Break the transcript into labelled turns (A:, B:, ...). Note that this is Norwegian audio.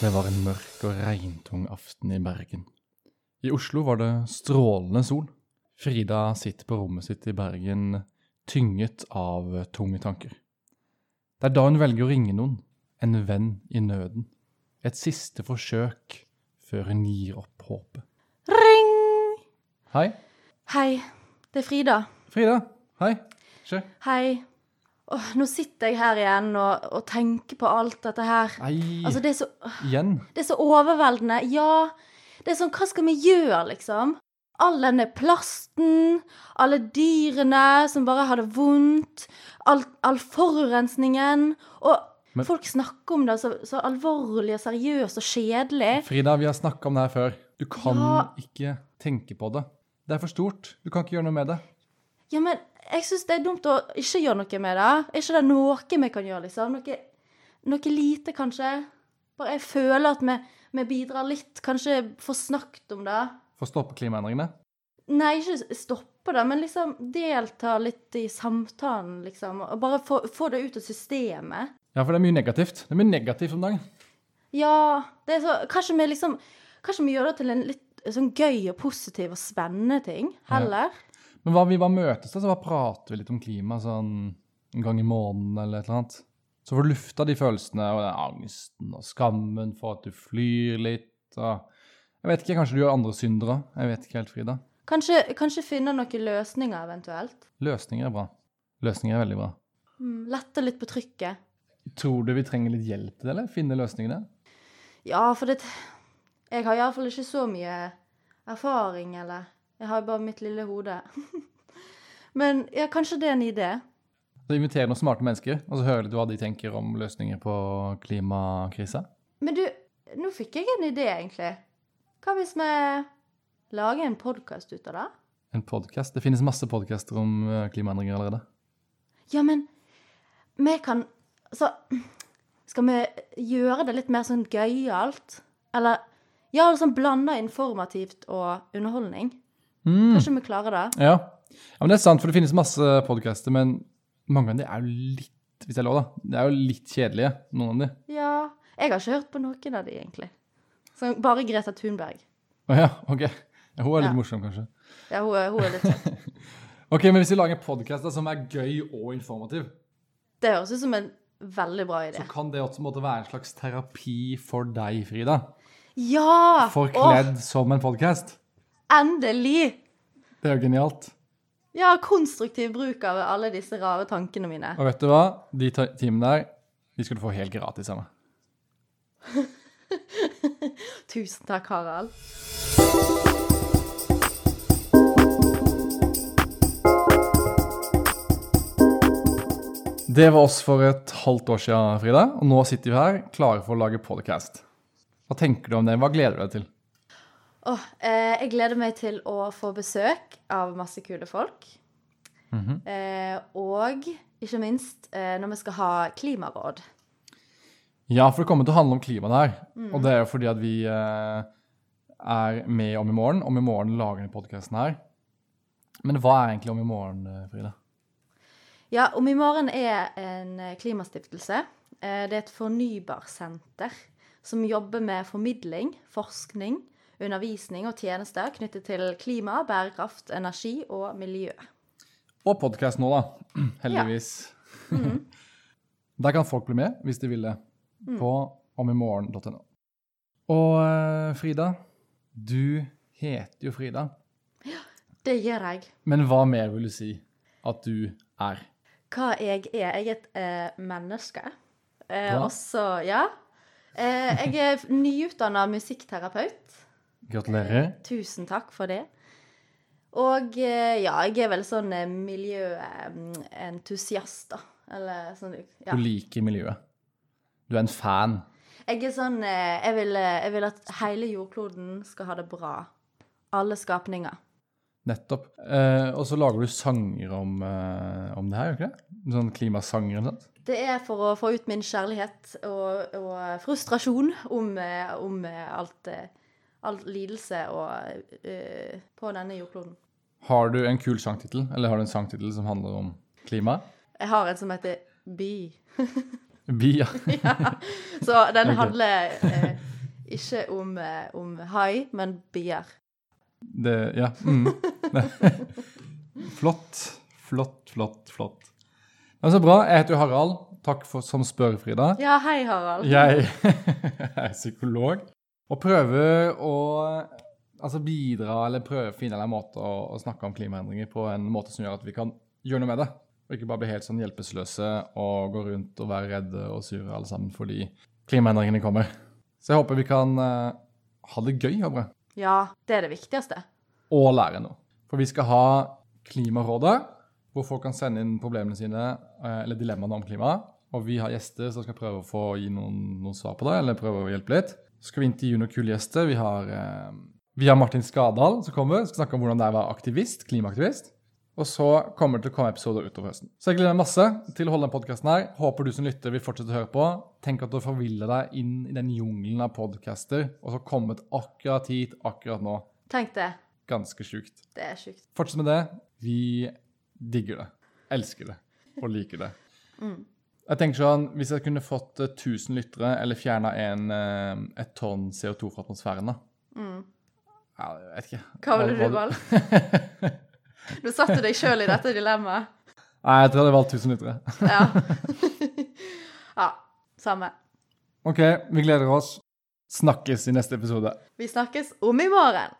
A: Det var en mørk og regntung aften i Bergen. I Oslo var det strålende sol. Frida sitter på rommet sitt i Bergen, tynget av tunge tanker. Det er da hun velger å ringe noen, en venn i nøden. Et siste forsøk før hun gir opp håpet.
B: Ring!
A: Hei.
B: Hei, det er Frida.
A: Frida. Hei. Skjer?
B: Hei. Åh, nå sitter jeg her igjen og, og tenker på alt dette her.
A: Nei,
B: Altså, det er, så,
A: igjen.
B: det er så overveldende. Ja, det er sånn Hva skal vi gjøre, liksom? All denne plasten, alle dyrene som bare har det vondt, all, all forurensningen Og
A: Men-
B: folk snakker om det så, så alvorlig og seriøst og kjedelig.
A: Frida, vi har snakka om det her før. Du kan
B: Eh? Ja.
A: ikke tenke på det. Det er for stort. Du kan ikke gjøre noe med det.
B: Ja, men jeg syns det er dumt å ikke gjøre noe med det. Er ikke det noe vi kan gjøre, liksom? Noe, noe lite, kanskje? Bare jeg føler at vi, vi bidrar litt. Kanskje få snakket om det.
A: For å stoppe klimaendringene.
B: Nei, ikke stoppe det, men liksom delta litt i samtalen, liksom. Og bare få, få det ut av systemet.
A: Ja, for det er mye negativt. Det er mye negativt om dagen.
B: Ja, det er så Kanskje vi liksom Kanskje vi gjør det til en litt sånn gøy og positiv og spennende ting, heller.
A: Men hva vi bare møtes, da, så bare prater vi litt om klima sånn en gang i måneden eller et eller annet. Så får du lufta de følelsene og den angsten og skammen for at du flyr litt og Jeg vet ikke, kanskje du gjør andre syndere. Jeg vet ikke helt, Frida.
B: Kanskje, kanskje finne noen løsninger, eventuelt.
A: Løsninger er bra. Løsninger er veldig bra.
B: Mm, Lette litt på trykket.
A: Tror du vi trenger litt hjelp til det, eller? Finne løsningene?
B: Ja, for det Jeg har iallfall ikke så mye erfaring, eller Jeg har bare mitt lille hode. Men ja, kanskje det er en idé.
A: Så Invitere noen smarte mennesker, og så høre litt hva de tenker om løsninger på klimakrisa.
B: Men du, nå fikk jeg en idé, egentlig. Hva hvis vi lager en podkast ut av det?
A: En podkast. Det finnes masse podkaster om eh, klimaendringer allerede.
B: Ja, men vi kan Så skal vi gjøre det litt mer sånn gøyalt? Eller ja, sånn blanda informativt og underholdning.
A: Mm.
B: Kanskje vi klarer det?
A: Ja. ja, men det er sant, for det finnes masse podkaster, men mange av de er jo litt hvis det er lov da, det er jo litt kjedelige, noen av de.
B: Ja. Jeg har ikke hørt på noen av de, egentlig. Så bare Greta Thunberg.
A: Å ja, ok. Ja, Hun er litt
B: Ja.
A: morsom, kanskje.
B: Ja, hun er, hun er litt kjekk.
A: Ok, men hvis vi lager en podkast som er gøy og informativ,
B: Det høres ut som en veldig bra idé.
A: så kan det også måtte være en slags terapi for deg, Frida.
B: Ja!
A: Forkledd som en podkast.
B: Åh, endelig!
A: Det er jo genialt.
B: Ja, konstruktiv bruk av alle disse rare tankene mine.
A: Og vet du hva? De ta- timene der, de skal du få helt gratis av meg.
B: Tusen takk, Harald.
A: Det var oss for et halvt år siden, Frida. Og nå sitter vi her, klare for å lage podcast. Hva tenker du om det? Hva gleder du deg til?
B: Åh, eh, jeg gleder meg til å få besøk av masse kule folk. eh, og ikke minst eh, når vi skal ha klimaråd.
A: Ja, for det kommer til å handle om klimaet her. Og det er jo fordi at vi eh, er med om i morgen. Om i morgen lager vi podcasten her. Men hva er egentlig om i morgen, eh, Frida?
B: Ja, Om i morgen er en eh, klimastiftelse. Eh, Det er et fornybarsenter som jobber med formidling, forskning, undervisning og tjenester knyttet til klima, bærekraft, energi og miljø.
A: Og podcast nå, da. Heldigvis. Der kan folk bli med, hvis de vil det, på omimorgen.no. Og eh, Frida, du heter jo Frida,
B: Det gjør jeg.
A: men hva mer vil du si at du er?
B: Hva jeg er? Jeg er et eh, menneske. Eh,
A: Bra.
B: også, ja. Eh, jeg er nyutdanna musikkterapeut.
A: Gratulerer.
B: Tusen takk for det. Og eh, ja, jeg er vel sånn eh, miljøentusiast, da. Eller sånn ja.
A: Du liker miljøet. Du er en fan.
B: Jeg er sånn eh, jeg vil, eh, jeg vil at hele jordkloden skal ha det bra. Alle skapninger.
A: Nettopp. Eh, og så lager du sanger om, eh, om det her, gjør du ikke det? Sånn klimasanger eller noe sånt.
B: Det er for å få ut min kjærlighet og, og frustrasjon om, eh, om eh, alt, eh, all lidelse og, eh, på denne jordkloden.
A: Har du en kul sangtittel, eller har du en sangtittel som handler om klima?
B: Jeg har en som heter Bi.
A: Vi, ja.
B: Så den
A: Ok.
B: handler eh, Ikke om, eh, om hai, men bier.
A: Det Ja. Mm. flott. Flott, flott, flott. Men så bra. Jeg heter jo Harald. Takk for, som spør, Frida.
B: Ja, hei, Harald.
A: Jeg er psykolog og prøver å altså bidra eller prøve å finne en måte å, å snakke om klimaendringer på en måte som gjør at vi kan gjøre noe med det. Og ikke bare bli helt sånn hjelpeløse og gå rundt og være redde og sure alle sammen fordi klimaendringene kommer. Så jeg håper vi kan eh, ha det gøy Håbre,
B: Ja, det er det viktigste.
A: og lære noe. For vi skal ha Klimarådet, hvor folk kan sende inn problemene sine eh, eller dilemmaene om klimaet. Og vi har gjester som skal prøve å få gi noen, noen svar på det, eller prøve å hjelpe litt. Så skal vi intervjue noen kule gjester. Vi har, eh, vi har Martin Skadal som kommer, skal snakke om hvordan det er å være aktivist, klimaaktivist. Og så kommer det til å komme episoder utover høsten. Så jeg gleder meg masse til å holde denne podkasten her. Håper du som lytter vil fortsette å høre på. Tenk at du forviller deg inn i den jungelen av podcaster, og så kommet akkurat hit akkurat nå.
B: Tenk det.
A: Ganske sjukt.
B: Det er sjukt.
A: Fortsett med det. Vi digger det. Elsker det. Og liker det.
B: Mm.
A: Jeg tenker sånn, Hvis jeg kunne fått eh, 1000 lyttere, eller fjerna et tonn CO2 fra atmosfæren, da
B: Mm.
A: ja, Jeg vet ikke.
B: Hva ville du
A: Hva- hva-
B: valgt? Du satte deg sjøl i dette dilemmaet.
A: Nei, jeg tror jeg hadde valgt 1000 lyttere.
B: Ja. ja. Samme.
A: OK, vi gleder oss. Snakkes i neste episode.
B: Vi snakkes om i morgen.